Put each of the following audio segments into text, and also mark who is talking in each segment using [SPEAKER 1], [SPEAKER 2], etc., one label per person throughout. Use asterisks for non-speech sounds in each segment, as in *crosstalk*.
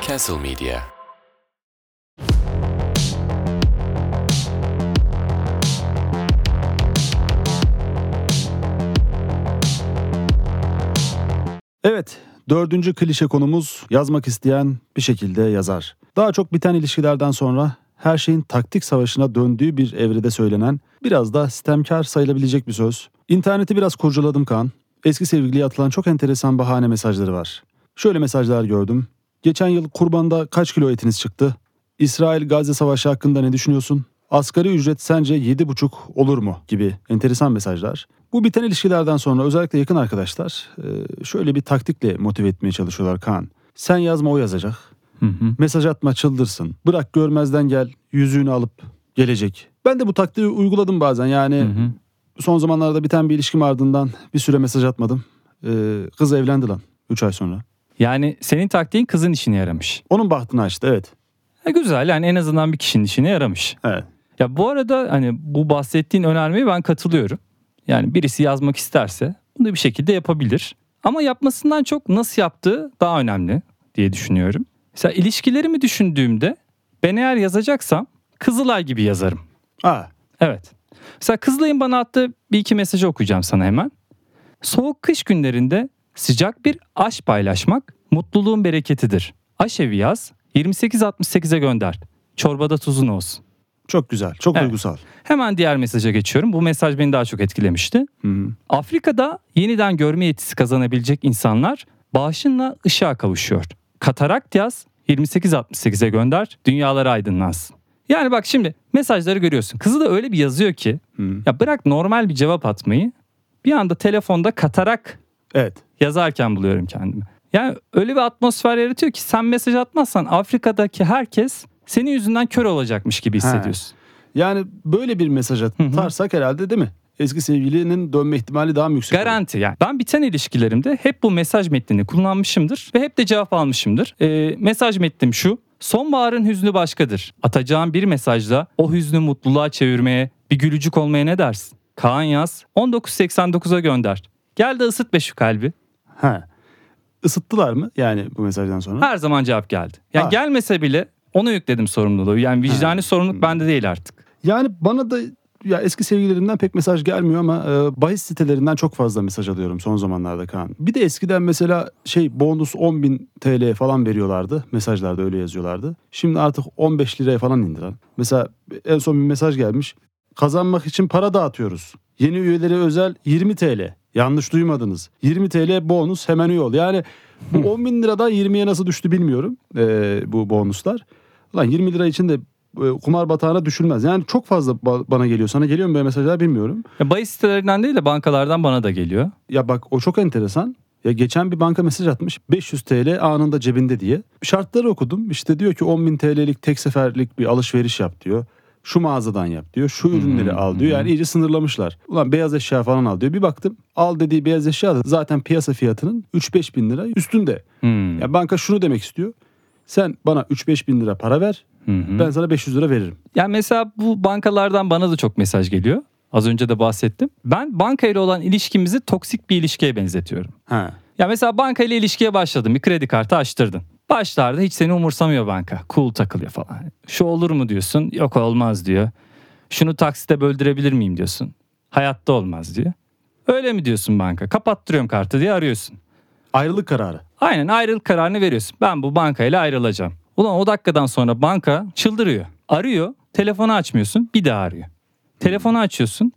[SPEAKER 1] Castle Media.
[SPEAKER 2] Evet, dördüncü klişe konumuz yazmak isteyen bir şekilde yazar. Daha çok biten ilişkilerden sonra her şeyin taktik savaşına döndüğü bir evrede söylenen, biraz da sistemkar sayılabilecek bir söz. İnterneti biraz kurcaladım Kaan. Eski sevgiliye atılan çok enteresan bahane mesajları var. Şöyle mesajlar gördüm. Geçen yıl kurbanda kaç kilo etiniz çıktı? İsrail-Gazze savaşı hakkında ne düşünüyorsun? Asgari ücret sence 7,5 olur mu? gibi enteresan mesajlar. Bu biten ilişkilerden sonra özellikle yakın arkadaşlar e, şöyle bir taktikle motive etmeye çalışıyorlar Kaan. Sen yazma o yazacak. Mesaj atma çıldırsın. Bırak görmezden gel yüzüğünü alıp gelecek. Ben de bu taktiği uyguladım bazen yani son zamanlarda biten bir ilişkim ardından bir süre mesaj atmadım. E, kız evlendi lan 3 ay sonra.
[SPEAKER 3] Yani senin taktiğin kızın işine yaramış.
[SPEAKER 2] Onun bahtını açtı evet.
[SPEAKER 3] E güzel yani en azından bir kişinin işine yaramış.
[SPEAKER 2] Evet.
[SPEAKER 3] Ya bu arada hani bu bahsettiğin önermeye ben katılıyorum. Yani birisi yazmak isterse bunu bir şekilde yapabilir. Ama yapmasından çok nasıl yaptığı daha önemli diye düşünüyorum. Mesela ilişkilerimi düşündüğümde ben eğer yazacaksam Kızılay gibi yazarım.
[SPEAKER 2] Aa,
[SPEAKER 3] Evet. Mesela Kızılay'ın bana attığı bir iki mesajı okuyacağım sana hemen. Soğuk kış günlerinde sıcak bir aş paylaşmak mutluluğun bereketidir. Aş evi yaz 28.68'e gönder. Çorbada tuzun olsun.
[SPEAKER 2] çok güzel çok
[SPEAKER 3] Evet.
[SPEAKER 2] duygusal.
[SPEAKER 3] Hemen diğer mesaja geçiyorum. Bu mesaj beni daha çok etkilemişti.
[SPEAKER 2] Hı.
[SPEAKER 3] Afrika'da yeniden görme yetisi kazanabilecek insanlar bağışınla ışığa kavuşuyor. Katarakt yaz 28.68'e gönder dünyaları aydınlansın. Yani bak şimdi mesajları görüyorsun. Kızı da öyle bir yazıyor ki
[SPEAKER 2] Hı.
[SPEAKER 3] ya bırak normal bir cevap atmayı bir anda telefonda katarak
[SPEAKER 2] Evet.
[SPEAKER 3] yazarken buluyorum kendimi. Yani öyle bir atmosfer yaratıyor ki sen mesaj atmazsan Afrika'daki herkes senin yüzünden kör olacakmış gibi hissediyorsun.
[SPEAKER 2] Yani böyle bir mesaj atarsak herhalde değil mi? Eski sevgilinin dönme ihtimali daha mı yüksek? olur?
[SPEAKER 3] Garanti yani. Ben biten ilişkilerimde hep bu mesaj metnini kullanmışımdır ve hep de cevap almışımdır. Ee, mesaj metnim şu. Sonbaharın hüznü başkadır. Atacağım bir mesajla o hüznü mutluluğa çevirmeye, bir gülücük olmaya ne dersin? Kaan yaz 1989'a gönder. Gel de ısıt be şu kalbi.
[SPEAKER 2] Ha. Isıttılar mı yani bu mesajdan sonra?
[SPEAKER 3] Her zaman cevap geldi. Yani
[SPEAKER 2] Ha.
[SPEAKER 3] gelmese bile ona yükledim sorumluluğu. Yani vicdani sorumluluk bende değil artık.
[SPEAKER 2] Yani bana da ya eski sevgililerimden pek mesaj gelmiyor ama e, bahis sitelerinden çok fazla mesaj alıyorum son zamanlarda Kaan. Bir de eskiden mesela şey bonus 10.000 TL falan veriyorlardı. Mesajlarda öyle yazıyorlardı. Şimdi artık 15 liraya falan indiren. Mesela en son bir mesaj gelmiş. Kazanmak için para dağıtıyoruz. Yeni üyelere özel 20 TL. Yanlış duymadınız. 20 TL bonus hemen üye ol. Yani bu 10 bin liradan 20'ye nasıl düştü bilmiyorum e, bu bonuslar. Ulan 20 lira için de e, kumar batağına düşülmez. Yani çok fazla ba- bana geliyor. Sana geliyor mu böyle mesajlar bilmiyorum.
[SPEAKER 3] Ya bahis sitelerinden değil de bankalardan bana da geliyor.
[SPEAKER 2] Ya bak o çok enteresan. Ya geçen bir banka mesaj atmış 500 TL anında cebinde diye. Şartları okudum. İşte diyor ki 10.000 TL'lik tek seferlik bir alışveriş yap diyor. Şu mağazadan yap diyor. Şu ürünleri al diyor. Yani iyice sınırlamışlar. Ulan beyaz eşya falan al diyor. Bir baktım al dediği beyaz eşya da zaten piyasa fiyatının 3-5 bin lira üstünde.
[SPEAKER 3] Hmm.
[SPEAKER 2] Ya banka şunu demek istiyor. Sen bana 3-5 bin lira para ver. Ben sana 500 lira veririm.
[SPEAKER 3] Yani mesela bu bankalardan bana da çok mesaj geliyor. Az önce de bahsettim. Ben bankayla olan ilişkimizi toksik bir ilişkiye benzetiyorum.
[SPEAKER 2] Ha.
[SPEAKER 3] Ya mesela bankayla ilişkiye başladın. Bir kredi kartı açtırdın. Başlarda hiç seni umursamıyor banka. Cool takılıyor falan. Şu olur mu diyorsun. Yok olmaz diyor. Şunu taksite böldürebilir miyim diyorsun. Hayatta olmaz diyor. Öyle mi diyorsun banka? Kapattırıyorum kartı diye arıyorsun.
[SPEAKER 2] Ayrılık kararı.
[SPEAKER 3] Aynen ayrılık kararını veriyorsun. Ben bu bankayla ayrılacağım. Ulan o dakikadan sonra banka çıldırıyor. Arıyor. Telefonu açmıyorsun. Bir daha arıyor. Telefonu açıyorsun.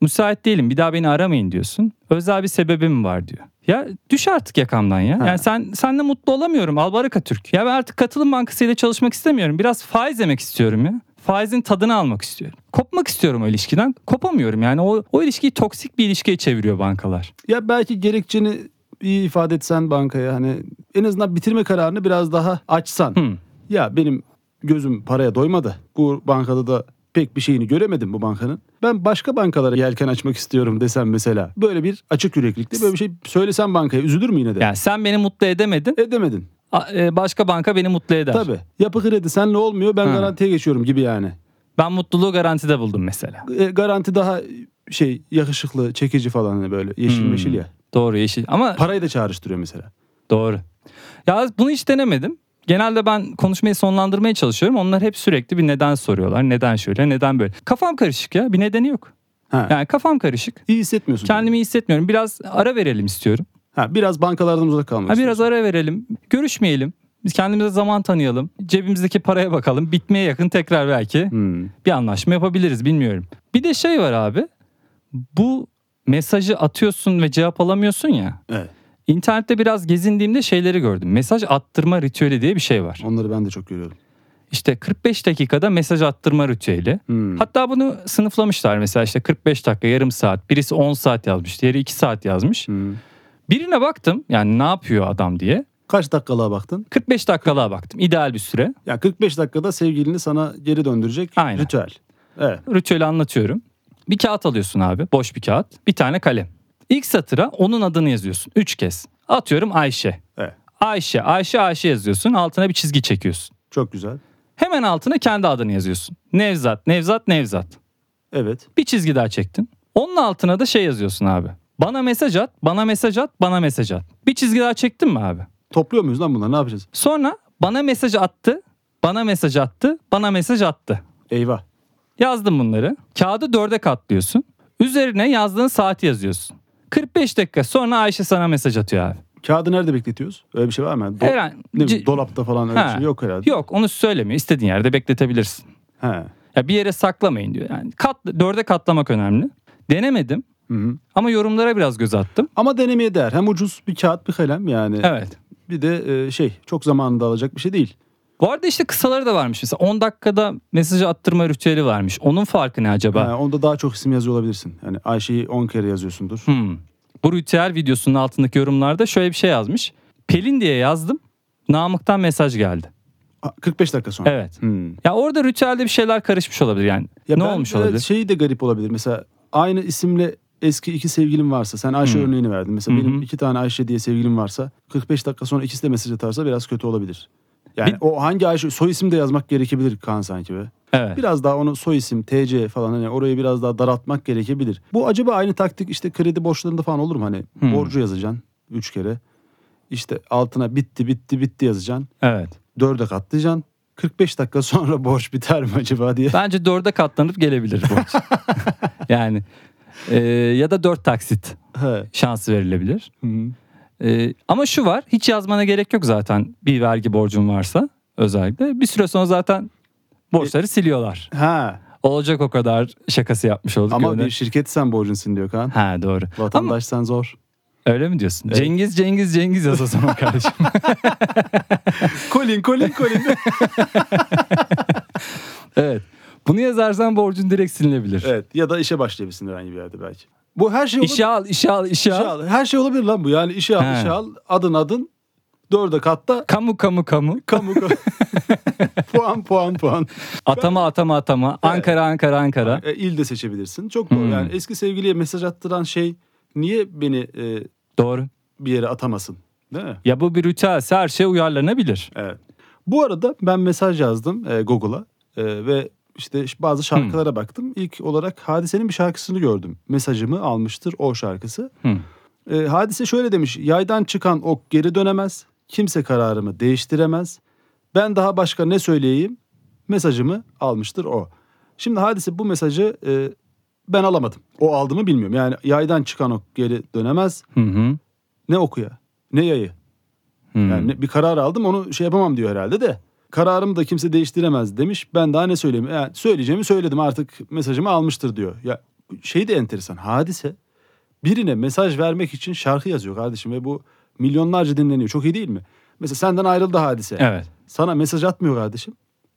[SPEAKER 3] Müsait değilim. Bir daha beni aramayın diyorsun. Özel bir sebebim var diyor. Ya düş artık yakamdan ya. Yani sen senle mutlu olamıyorum Albaraka Türk. Ya ben artık katılım bankasıyla çalışmak istemiyorum. Biraz faiz yemek istiyorum ya. Faizin tadını almak istiyorum. Kopmak istiyorum o ilişkiden. Kopamıyorum yani. O, o ilişkiyi toksik bir ilişkiye çeviriyor bankalar.
[SPEAKER 2] Ya belki gerekçeni iyi ifade etsen bankaya hani en azından bitirme kararını biraz daha açsan.
[SPEAKER 3] Hı.
[SPEAKER 2] Ya benim gözüm paraya doymadı. Bu bankada da pek bir şeyini göremedim bu bankanın. Ben başka bankalara yelken açmak istiyorum desem mesela. Böyle bir açık yüreklikte böyle bir şey söylesen bankaya üzülür mü yine de?
[SPEAKER 3] Yani sen beni mutlu edemedin.
[SPEAKER 2] Edemedin.
[SPEAKER 3] A- e, başka banka beni mutlu eder.
[SPEAKER 2] Tabii. Yapı kredi senle olmuyor ben
[SPEAKER 3] Ha.
[SPEAKER 2] garantiye geçiyorum gibi yani.
[SPEAKER 3] Ben mutluluğu garantide buldum mesela.
[SPEAKER 2] E, garanti daha şey yakışıklı, çekici falan hani böyle yeşil
[SPEAKER 3] Hmm.
[SPEAKER 2] meşil ya.
[SPEAKER 3] Doğru yeşil ama
[SPEAKER 2] Parayı da çağrıştırıyor mesela.
[SPEAKER 3] doğru. Ya bunu hiç denemedim. Genelde ben konuşmayı sonlandırmaya çalışıyorum. Onlar hep sürekli bir neden soruyorlar. Neden şöyle, neden böyle. Kafam karışık ya. Bir nedeni yok.
[SPEAKER 2] Ha.
[SPEAKER 3] Yani kafam karışık.
[SPEAKER 2] İyi hissetmiyorsun.
[SPEAKER 3] Kendimi iyi hissetmiyorum. Biraz ara verelim istiyorum.
[SPEAKER 2] Ha, biraz bankalardan uzak kalmak
[SPEAKER 3] Ha,
[SPEAKER 2] istiyorsun.
[SPEAKER 3] biraz ara verelim. Görüşmeyelim. Biz kendimize zaman tanıyalım. Cebimizdeki paraya bakalım. Bitmeye yakın tekrar belki
[SPEAKER 2] Hmm.
[SPEAKER 3] bir anlaşma yapabiliriz bilmiyorum. Bir de şey var abi. Bu mesajı atıyorsun ve cevap alamıyorsun ya.
[SPEAKER 2] Evet.
[SPEAKER 3] İnternette biraz gezindiğimde şeyleri gördüm. Mesaj attırma ritüeli diye bir şey var.
[SPEAKER 2] Onları ben de çok görüyorum.
[SPEAKER 3] İşte 45 dakikada mesaj attırma ritüeli.
[SPEAKER 2] Hmm.
[SPEAKER 3] Hatta bunu sınıflamışlar mesela işte 45 dakika yarım saat birisi 10 saat yazmış diğeri 2 saat yazmış.
[SPEAKER 2] Hmm.
[SPEAKER 3] Birine baktım yani ne yapıyor adam diye.
[SPEAKER 2] Kaç dakikalığa baktın?
[SPEAKER 3] 45 dakikalığa baktım ideal bir süre.
[SPEAKER 2] Ya 45 dakikada sevgilini sana geri döndürecek
[SPEAKER 3] Aynen.
[SPEAKER 2] ritüel. Evet.
[SPEAKER 3] Ritüeli anlatıyorum. Bir kağıt alıyorsun abi boş bir kağıt bir tane kalem. İlk satıra onun adını yazıyorsun 3 kez. Atıyorum Ayşe.
[SPEAKER 2] Evet.
[SPEAKER 3] Ayşe Ayşe Ayşe yazıyorsun altına bir çizgi çekiyorsun.
[SPEAKER 2] Çok güzel.
[SPEAKER 3] Hemen altına kendi adını yazıyorsun. Nevzat Nevzat Nevzat.
[SPEAKER 2] Evet.
[SPEAKER 3] Bir çizgi daha çektin. Onun altına da şey yazıyorsun abi. Bana mesaj at, bana mesaj at, bana mesaj at. Bir çizgi daha çektin mi abi?
[SPEAKER 2] Topluyor muyuz lan bunları? Ne yapacağız?
[SPEAKER 3] Sonra bana mesaj attı, bana mesaj attı, bana mesaj attı.
[SPEAKER 2] Eyvah.
[SPEAKER 3] Yazdım bunları. Kağıdı dörde katlıyorsun. Üzerine yazdığın saati yazıyorsun. 45 dakika sonra Ayşe sana mesaj atıyor abi.
[SPEAKER 2] Kağıdı nerede bekletiyoruz? Öyle bir şey var mı? Do-
[SPEAKER 3] Her an-
[SPEAKER 2] ne bileyim,
[SPEAKER 3] c-
[SPEAKER 2] dolapta falan öyle bir
[SPEAKER 3] Ha.
[SPEAKER 2] şey yok herhalde.
[SPEAKER 3] Yok onu söylemiyor. İstediğin yerde bekletebilirsin.
[SPEAKER 2] He.
[SPEAKER 3] Ya bir yere saklamayın diyor. Yani kat, dörde katlamak önemli. Denemedim
[SPEAKER 2] Hı hı.
[SPEAKER 3] ama yorumlara biraz göz attım.
[SPEAKER 2] Ama denemeye değer. Hem ucuz bir kağıt bir kalem yani.
[SPEAKER 3] Evet.
[SPEAKER 2] Bir de e, şey çok zamanında alacak bir şey değil.
[SPEAKER 3] Bu arada işte kısaları da varmış. Mesela 10 dakikada mesajı attırma ritüeli varmış. Onun farkı ne acaba?
[SPEAKER 2] Ha, onda daha çok isim yazıyor olabilirsin. Yani Ayşe'yi 10 kere yazıyorsundur.
[SPEAKER 3] Hmm. Bu ritüel videosunun altındaki yorumlarda şöyle bir şey yazmış. Pelin diye yazdım. Namık'tan mesaj geldi.
[SPEAKER 2] Ha, 45 dakika sonra.
[SPEAKER 3] Evet.
[SPEAKER 2] Hmm.
[SPEAKER 3] Ya orada ritüelde bir şeyler karışmış olabilir yani.
[SPEAKER 2] Ya
[SPEAKER 3] ne
[SPEAKER 2] ben
[SPEAKER 3] olmuş
[SPEAKER 2] de
[SPEAKER 3] olabilir?
[SPEAKER 2] Şey de garip olabilir. Mesela aynı isimle eski iki sevgilim varsa sen Ayşe
[SPEAKER 3] Hı.
[SPEAKER 2] örneğini verdin. Mesela
[SPEAKER 3] Hı hı.
[SPEAKER 2] benim iki tane Ayşe diye sevgilim varsa 45 dakika sonra ikisi de mesaj atarsa biraz kötü olabilir. Yani
[SPEAKER 3] Bir-
[SPEAKER 2] o hangi Ayşe soy isim de yazmak gerekebilir Kaan sanki be.
[SPEAKER 3] Evet.
[SPEAKER 2] Biraz daha onu soy isim TC falan hani orayı biraz daha daraltmak gerekebilir. Bu acaba aynı taktik işte kredi borçlarında falan olur mu hani
[SPEAKER 3] Hı.
[SPEAKER 2] borcu yazacaksın 3 kere. İşte altına bitti bitti bitti yazacaksın.
[SPEAKER 3] Evet.
[SPEAKER 2] 4'e katlayacaksın. 45 dakika sonra *laughs* borç biter mi acaba diye.
[SPEAKER 3] Bence dörde katlanıp gelebilir
[SPEAKER 2] *laughs*
[SPEAKER 3] bu. yani e, ya da dört taksit
[SPEAKER 2] He.
[SPEAKER 3] şansı verilebilir.
[SPEAKER 2] Hı hı.
[SPEAKER 3] Ee, ama şu var hiç yazmana gerek yok zaten bir vergi borcun varsa özellikle. Bir süre sonra zaten borçları
[SPEAKER 2] E-
[SPEAKER 3] siliyorlar.
[SPEAKER 2] Ha.
[SPEAKER 3] Olacak o kadar şakası yapmış olduk.
[SPEAKER 2] Ama
[SPEAKER 3] öyle.
[SPEAKER 2] bir şey- şirket sen borcunsun diyor Kaan.
[SPEAKER 3] Ha doğru. Ama
[SPEAKER 2] Vatandaşsan
[SPEAKER 3] *laughs*
[SPEAKER 2] zor.
[SPEAKER 3] öyle mi diyorsun?
[SPEAKER 2] Evet.
[SPEAKER 3] Cengiz Cengiz Cengiz yaz o
[SPEAKER 2] *laughs*
[SPEAKER 3] zaman kardeşim.
[SPEAKER 2] Colin, Colin, Colin.
[SPEAKER 3] evet. Bunu yazarsan borcun direkt silinebilir.
[SPEAKER 2] *laughs* evet ya da işe başlayabilirsin herhangi bir yerde belki. Bu her şey olabilir.
[SPEAKER 3] İşe al, işe al, işe
[SPEAKER 2] İşe
[SPEAKER 3] al.
[SPEAKER 2] al. Her şey olabilir lan bu. Yani işe al,
[SPEAKER 3] He.
[SPEAKER 2] işe al. Adın adın. Dörde katta.
[SPEAKER 3] Kamu kamu kamu.
[SPEAKER 2] Kamu.
[SPEAKER 3] *laughs*
[SPEAKER 2] puan, puan, puan.
[SPEAKER 3] Atama atama atama. Ankara Ankara Ankara.
[SPEAKER 2] E, il de seçebilirsin. Çok doğru.
[SPEAKER 3] Hmm.
[SPEAKER 2] Yani eski sevgiliye mesaj attıran şey niye beni e,
[SPEAKER 3] Doğru.
[SPEAKER 2] bir yere atamasın? Değil mi?
[SPEAKER 3] Ya bu bir ritüelse her şey uyarlanabilir.
[SPEAKER 2] Evet. Bu arada ben mesaj yazdım e, Google'a e, ve işte ş- bazı şarkılara baktım. İlk olarak Hadise'nin bir şarkısını gördüm. Mesajımı almıştır o şarkısı.
[SPEAKER 3] Hı.
[SPEAKER 2] E, Hadise şöyle demiş. Yaydan çıkan ok geri dönemez. Kimse kararımı değiştiremez. Ben daha başka ne söyleyeyim? Mesajımı almıştır o. Şimdi Hadise bu mesajı e, ben alamadım. O aldı mı bilmiyorum. Yani yaydan çıkan ok geri dönemez.
[SPEAKER 3] Hı hı.
[SPEAKER 2] Ne okuya? Ne yayı?
[SPEAKER 3] Hı.
[SPEAKER 2] Yani ne- bir karar aldım onu şey yapamam diyor herhalde de. Kararımı da kimse değiştiremez demiş. Ben daha ne söyleyeyim? Yani söyleyeceğimi söyledim artık mesajımı almıştır diyor. Ya şey de enteresan hadise. Birine mesaj vermek için şarkı yazıyor kardeşim ve bu milyonlarca dinleniyor. Çok iyi değil mi? Mesela senden ayrıldı hadise.
[SPEAKER 3] Evet.
[SPEAKER 2] Sana mesaj atmıyor kardeşim.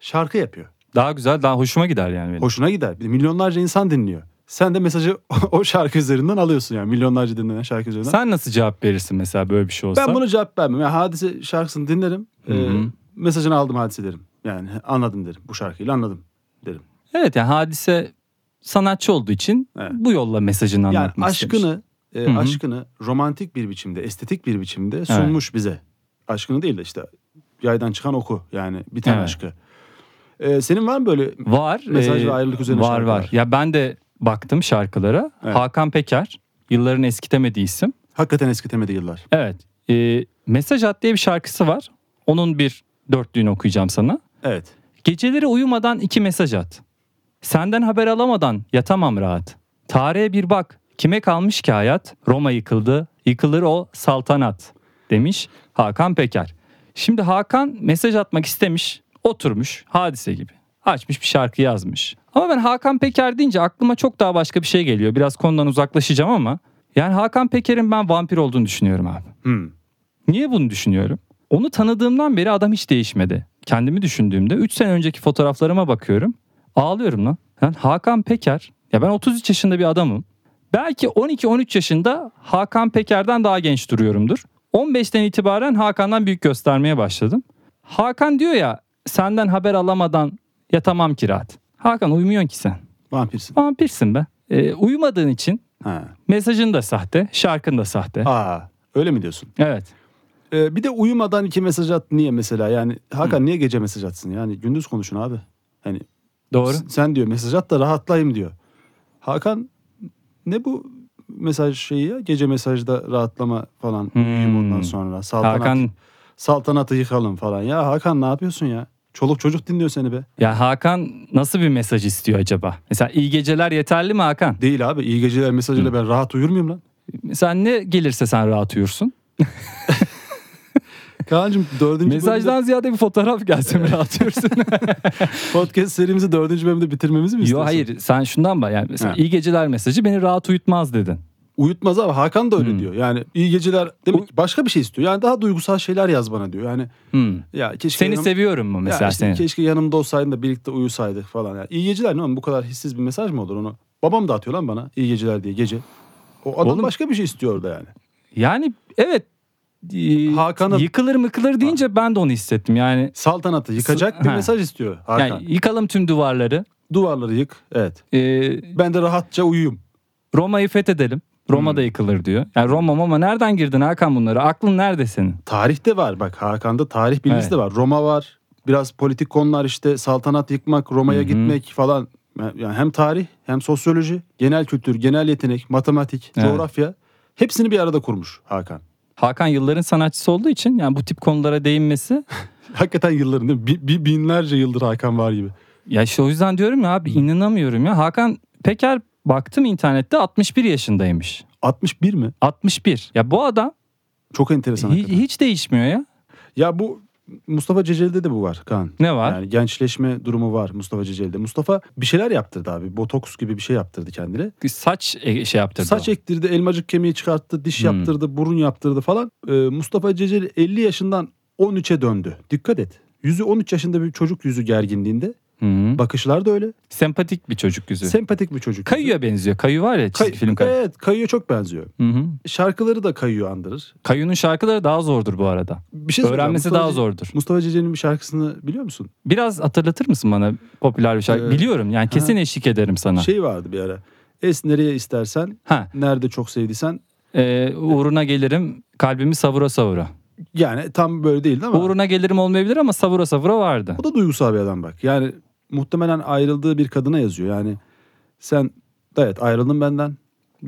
[SPEAKER 2] Şarkı yapıyor.
[SPEAKER 3] Daha güzel, daha hoşuma gider yani benim.
[SPEAKER 2] Hoşuna gider. Bir de milyonlarca insan dinliyor. Sen de mesajı *laughs* o şarkı üzerinden alıyorsun yani. Milyonlarca dinlenen şarkı üzerinden.
[SPEAKER 3] Sen nasıl cevap verirsin mesela böyle bir şey olsa?
[SPEAKER 2] Ben bunu cevap vermem. Yani hadise şarkısını dinlerim.
[SPEAKER 3] Hı
[SPEAKER 2] Ee,
[SPEAKER 3] hı.
[SPEAKER 2] mesajını aldım hadise derim. Yani anladım derim. Bu şarkıyla anladım derim.
[SPEAKER 3] Evet yani hadise sanatçı olduğu için
[SPEAKER 2] Evet.
[SPEAKER 3] bu yolla mesajını
[SPEAKER 2] Yani
[SPEAKER 3] anlatmak istemiş.
[SPEAKER 2] aşkını e,
[SPEAKER 3] Hı hı.
[SPEAKER 2] aşkını romantik bir biçimde, estetik bir biçimde sunmuş bize. Aşkını değil de işte yaydan çıkan oku yani bir tane
[SPEAKER 3] Evet.
[SPEAKER 2] aşkı. Ee, senin var mı böyle
[SPEAKER 3] Var.
[SPEAKER 2] Mesaj
[SPEAKER 3] e,
[SPEAKER 2] ve ayrılık üzerine
[SPEAKER 3] Var
[SPEAKER 2] şarkılar.
[SPEAKER 3] var. Ya ben de baktım şarkılara.
[SPEAKER 2] Evet.
[SPEAKER 3] Hakan Peker. Yılların eskitemediği isim.
[SPEAKER 2] hakikaten eskitemedi yıllar?
[SPEAKER 3] Evet. e, Mesaj At diye bir şarkısı var. Onun bir dörtlüğünü okuyacağım sana.
[SPEAKER 2] Evet.
[SPEAKER 3] Geceleri uyumadan iki mesaj at. Senden haber alamadan yatamam rahat. Tarihe bir bak. Kime kalmış ki hayat? Roma yıkıldı. Yıkılır o saltanat. Demiş Hakan Peker. Şimdi Hakan mesaj atmak istemiş. Oturmuş hadise gibi. Açmış bir şarkı yazmış. Ama ben Hakan Peker deyince aklıma çok daha başka bir şey geliyor. Biraz konudan uzaklaşacağım ama. Yani Hakan Peker'in ben vampir olduğunu düşünüyorum abi.
[SPEAKER 2] Hmm.
[SPEAKER 3] Niye bunu düşünüyorum? Onu tanıdığımdan beri adam hiç değişmedi. Kendimi düşündüğümde 3 sene önceki fotoğraflarıma bakıyorum. Ağlıyorum lan. Yani Hakan Peker. Ya ben 33 yaşında bir adamım. Belki 12-13 yaşında Hakan Peker'den daha genç duruyorumdur. 15'ten itibaren Hakan'dan büyük göstermeye başladım. Hakan diyor ya senden haber alamadan yatamam ki rahat. Hakan uyumuyorsun ki sen.
[SPEAKER 2] Vampirsin.
[SPEAKER 3] Vampirsin be. Ee, uyumadığın için
[SPEAKER 2] Ha.
[SPEAKER 3] mesajın da sahte, şarkın da sahte.
[SPEAKER 2] Aa, öyle mi diyorsun?
[SPEAKER 3] Evet.
[SPEAKER 2] Ee, bir de uyumadan iki mesaj at niye mesela? Yani Hakan niye gece mesaj atsın? Yani gündüz konuşun abi. Hani
[SPEAKER 3] Doğru.
[SPEAKER 2] s- sen diyor mesaj at da rahatlayayım diyor. Hakan ne bu mesaj şeyi ya? Gece mesajda rahatlama falan.
[SPEAKER 3] Hmm.
[SPEAKER 2] Uyuyayım ondan sonra. Saltanat,
[SPEAKER 3] Hakan
[SPEAKER 2] Saltanatı yıkalım falan. Ya Hakan ne yapıyorsun ya? Çoluk çocuk dinliyor seni be.
[SPEAKER 3] Ya Hakan nasıl bir mesaj istiyor acaba? Mesela iyi geceler yeterli mi Hakan?
[SPEAKER 2] Değil abi. iyi geceler
[SPEAKER 3] Hmm.
[SPEAKER 2] mesajıyla ben rahat uyur muyum lan?
[SPEAKER 3] Sen ne gelirse sen rahat uyursun.
[SPEAKER 2] Kaan'cığım dördüncü bölümde-
[SPEAKER 3] Mesajdan ziyade bir fotoğraf gelse mi
[SPEAKER 2] *laughs*
[SPEAKER 3] rahat uyursun?
[SPEAKER 2] podcast serimizi dördüncü bölümde bitirmemizi mi istiyorsun?
[SPEAKER 3] Yok hayır sen şundan bak yani mesela
[SPEAKER 2] Ha.
[SPEAKER 3] iyi geceler mesajı beni rahat uyutmaz dedin.
[SPEAKER 2] Uyutmaz abi. Hakan da öyle
[SPEAKER 3] Hmm.
[SPEAKER 2] diyor. Yani iyi geceler demek ki başka bir şey istiyor. Yani daha duygusal şeyler yaz bana diyor. Yani
[SPEAKER 3] Hmm.
[SPEAKER 2] ya keşke
[SPEAKER 3] Seni
[SPEAKER 2] yanım-
[SPEAKER 3] seviyorum mu
[SPEAKER 2] Ya
[SPEAKER 3] mesela
[SPEAKER 2] işte
[SPEAKER 3] seni?
[SPEAKER 2] keşke yanımda olsaydın da birlikte uyusaydık falan. Yani iyi geceler ne oğlum bu kadar hissiz bir mesaj mı olur onu? Babam da atıyor lan bana iyi geceler diye gece. O adam
[SPEAKER 3] Oğlum-
[SPEAKER 2] başka bir şey istiyor orada yani.
[SPEAKER 3] Yani evet ee,
[SPEAKER 2] Hakan'ın-
[SPEAKER 3] yıkılır mıkılır deyince ben de onu hissettim yani.
[SPEAKER 2] Saltanatı yıkacak bir
[SPEAKER 3] Ha.
[SPEAKER 2] mesaj istiyor Hakan.
[SPEAKER 3] Yani yıkalım tüm duvarları.
[SPEAKER 2] Duvarları yık. Evet.
[SPEAKER 3] Ee,
[SPEAKER 2] Ben de rahatça uyuyum.
[SPEAKER 3] Roma'yı fethedelim.
[SPEAKER 2] Hmm.
[SPEAKER 3] Roma da yıkılır diyor. Yani Roma Moma nereden girdin Hakan bunları? Aklın nerede senin?
[SPEAKER 2] Tarihte var bak Hakan'da tarih bilgisi
[SPEAKER 3] Evet.
[SPEAKER 2] de var. Roma var. Biraz politik konular işte saltanat yıkmak, Roma'ya
[SPEAKER 3] Hı hı.
[SPEAKER 2] gitmek falan. Yani hem tarih hem sosyoloji, genel kültür, genel yetenek, matematik,
[SPEAKER 3] Evet.
[SPEAKER 2] coğrafya hepsini bir arada kurmuş Hakan.
[SPEAKER 3] Hakan yılların sanatçısı olduğu için yani bu tip
[SPEAKER 2] *laughs*
[SPEAKER 3] konulara değinmesi
[SPEAKER 2] Hakikaten yılların değil mi? Bi- bi- binlerce yıldır Hakan var gibi.
[SPEAKER 3] ya işte o yüzden diyorum ya abi inanamıyorum ya Hakan Peker baktım internette 61 yaşındaymış.
[SPEAKER 2] 61 mi?
[SPEAKER 3] 61. Ya bu adam
[SPEAKER 2] Çok enteresan.
[SPEAKER 3] hi-
[SPEAKER 2] hakikaten.
[SPEAKER 3] hiç değişmiyor ya.
[SPEAKER 2] Ya bu Mustafa Ceceli'de de bu var Kaan.
[SPEAKER 3] Ne var?
[SPEAKER 2] Yani gençleşme durumu var Mustafa Ceceli'de. Mustafa bir şeyler yaptırdı abi. Botoks gibi bir şey yaptırdı kendine.
[SPEAKER 3] Saç e, şey yaptırdı.
[SPEAKER 2] Saç
[SPEAKER 3] o.
[SPEAKER 2] ektirdi, elmacık kemiği çıkarttı, diş
[SPEAKER 3] Hmm.
[SPEAKER 2] yaptırdı, burun yaptırdı falan. Ee, Mustafa Ceceli 50 yaşından 13'e döndü. Dikkat et. Yüzü 13 yaşında bir çocuk yüzü gerginliğinde.
[SPEAKER 3] Hı.
[SPEAKER 2] Bakışlar da öyle.
[SPEAKER 3] Sempatik bir çocuk yüzü.
[SPEAKER 2] Sempatik bir çocuk.
[SPEAKER 3] Kayu'ya benziyor. Kayu var ya çizgi
[SPEAKER 2] Kay-
[SPEAKER 3] film Kayu.
[SPEAKER 2] Evet, Kayı'ya çok benziyor.
[SPEAKER 3] Hı hı.
[SPEAKER 2] Şarkıları da Kayı'yı andırır.
[SPEAKER 3] Kayu'nun şarkıları daha zordur bu arada.
[SPEAKER 2] Bir şey soracağım.
[SPEAKER 3] Öğrenmesi
[SPEAKER 2] Mustafa
[SPEAKER 3] daha
[SPEAKER 2] Ce-
[SPEAKER 3] zordur.
[SPEAKER 2] Mustafa Ceceli'nin bir şarkısını biliyor musun?
[SPEAKER 3] Biraz hatırlatır mısın bana popüler bir şarkı?
[SPEAKER 2] Ee,
[SPEAKER 3] Biliyorum yani kesin eşlik ederim sana.
[SPEAKER 2] Şey vardı bir ara. Es nereye istersen,
[SPEAKER 3] ha,
[SPEAKER 2] nerede çok sevdiysen.
[SPEAKER 3] e, uğruna gelirim kalbimi savura savura.
[SPEAKER 2] Yani tam böyle değildi ama.
[SPEAKER 3] Uğruna gelirim olmayabilir ama savura savura vardı.
[SPEAKER 2] O da duygusal bir adam bak. Yani muhtemelen ayrıldığı bir kadına yazıyor. Yani sen evet ayrıldın benden.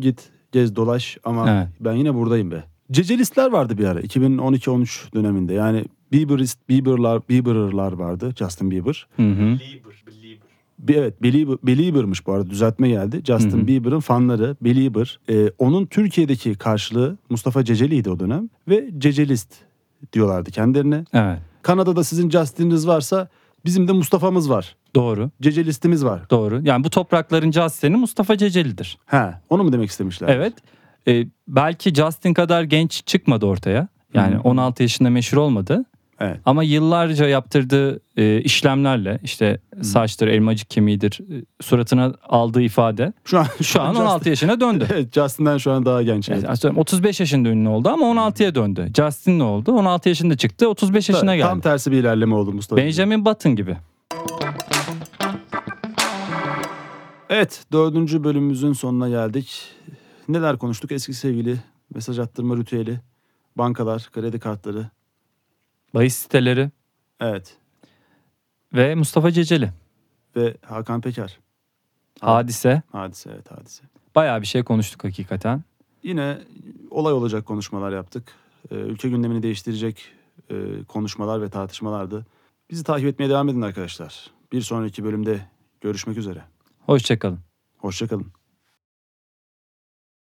[SPEAKER 2] Git gez dolaş ama
[SPEAKER 3] Evet.
[SPEAKER 2] ben yine buradayım be. Cecelistler vardı bir ara 2012-13 döneminde. Yani Bieberist, Bieber'lar, Bieber'lar vardı. Justin Bieber.
[SPEAKER 3] Hı hı.
[SPEAKER 2] Be- evet Belieber, Belieber'mış bu arada düzeltme geldi. Justin
[SPEAKER 3] Hı hı.
[SPEAKER 2] Bieber'ın fanları Belieber. Ee, onun Türkiye'deki karşılığı Mustafa Ceceli'ydi o dönem. Ve Cecelist diyorlardı kendilerine.
[SPEAKER 3] Evet.
[SPEAKER 2] Kanada'da sizin Justin'iniz varsa bizim de Mustafa'mız var.
[SPEAKER 3] Doğru.
[SPEAKER 2] Cecelist'imiz var.
[SPEAKER 3] Doğru. Yani bu toprakların Justin'i Mustafa Ceceli'dir.
[SPEAKER 2] Ha, onu mu demek istemişler?
[SPEAKER 3] Evet. Ee, belki Justin kadar genç çıkmadı ortaya. Yani
[SPEAKER 2] Hı.
[SPEAKER 3] 16 yaşında meşhur olmadı.
[SPEAKER 2] Evet.
[SPEAKER 3] Ama yıllarca yaptırdığı e, işlemlerle işte saçtır, elmacık kemiğidir, e, suratına aldığı ifade
[SPEAKER 2] Şu an
[SPEAKER 3] şu
[SPEAKER 2] *laughs*
[SPEAKER 3] an
[SPEAKER 2] Justin-
[SPEAKER 3] 16 yaşına döndü.
[SPEAKER 2] Evet, Justin'den şu an daha genç.
[SPEAKER 3] Yani atıyorum 35 yaşında ünlü oldu ama 16'ya döndü. Justin ne oldu? 16 yaşında çıktı, 35 yaşına
[SPEAKER 2] Tam
[SPEAKER 3] geldi.
[SPEAKER 2] tersi bir ilerleme oldu Mustafa.
[SPEAKER 3] Benjamin Button gibi.
[SPEAKER 2] Evet, dördüncü bölümümüzün sonuna geldik. Neler konuştuk? Eski sevgili, mesaj attırma ritüeli, bankalar, kredi kartları.
[SPEAKER 3] Bahis siteleri
[SPEAKER 2] Evet.
[SPEAKER 3] ve Mustafa Ceceli.
[SPEAKER 2] Ve Hakan Peker.
[SPEAKER 3] Hadise.
[SPEAKER 2] Hadise, evet hadise.
[SPEAKER 3] Bayağı bir şey konuştuk hakikaten.
[SPEAKER 2] Yine olay olacak konuşmalar yaptık. Ee, Ülke gündemini değiştirecek e, konuşmalar ve tartışmalardı. Bizi takip etmeye devam edin arkadaşlar. Bir sonraki bölümde görüşmek üzere.
[SPEAKER 3] Hoşçakalın.
[SPEAKER 2] Hoşçakalın.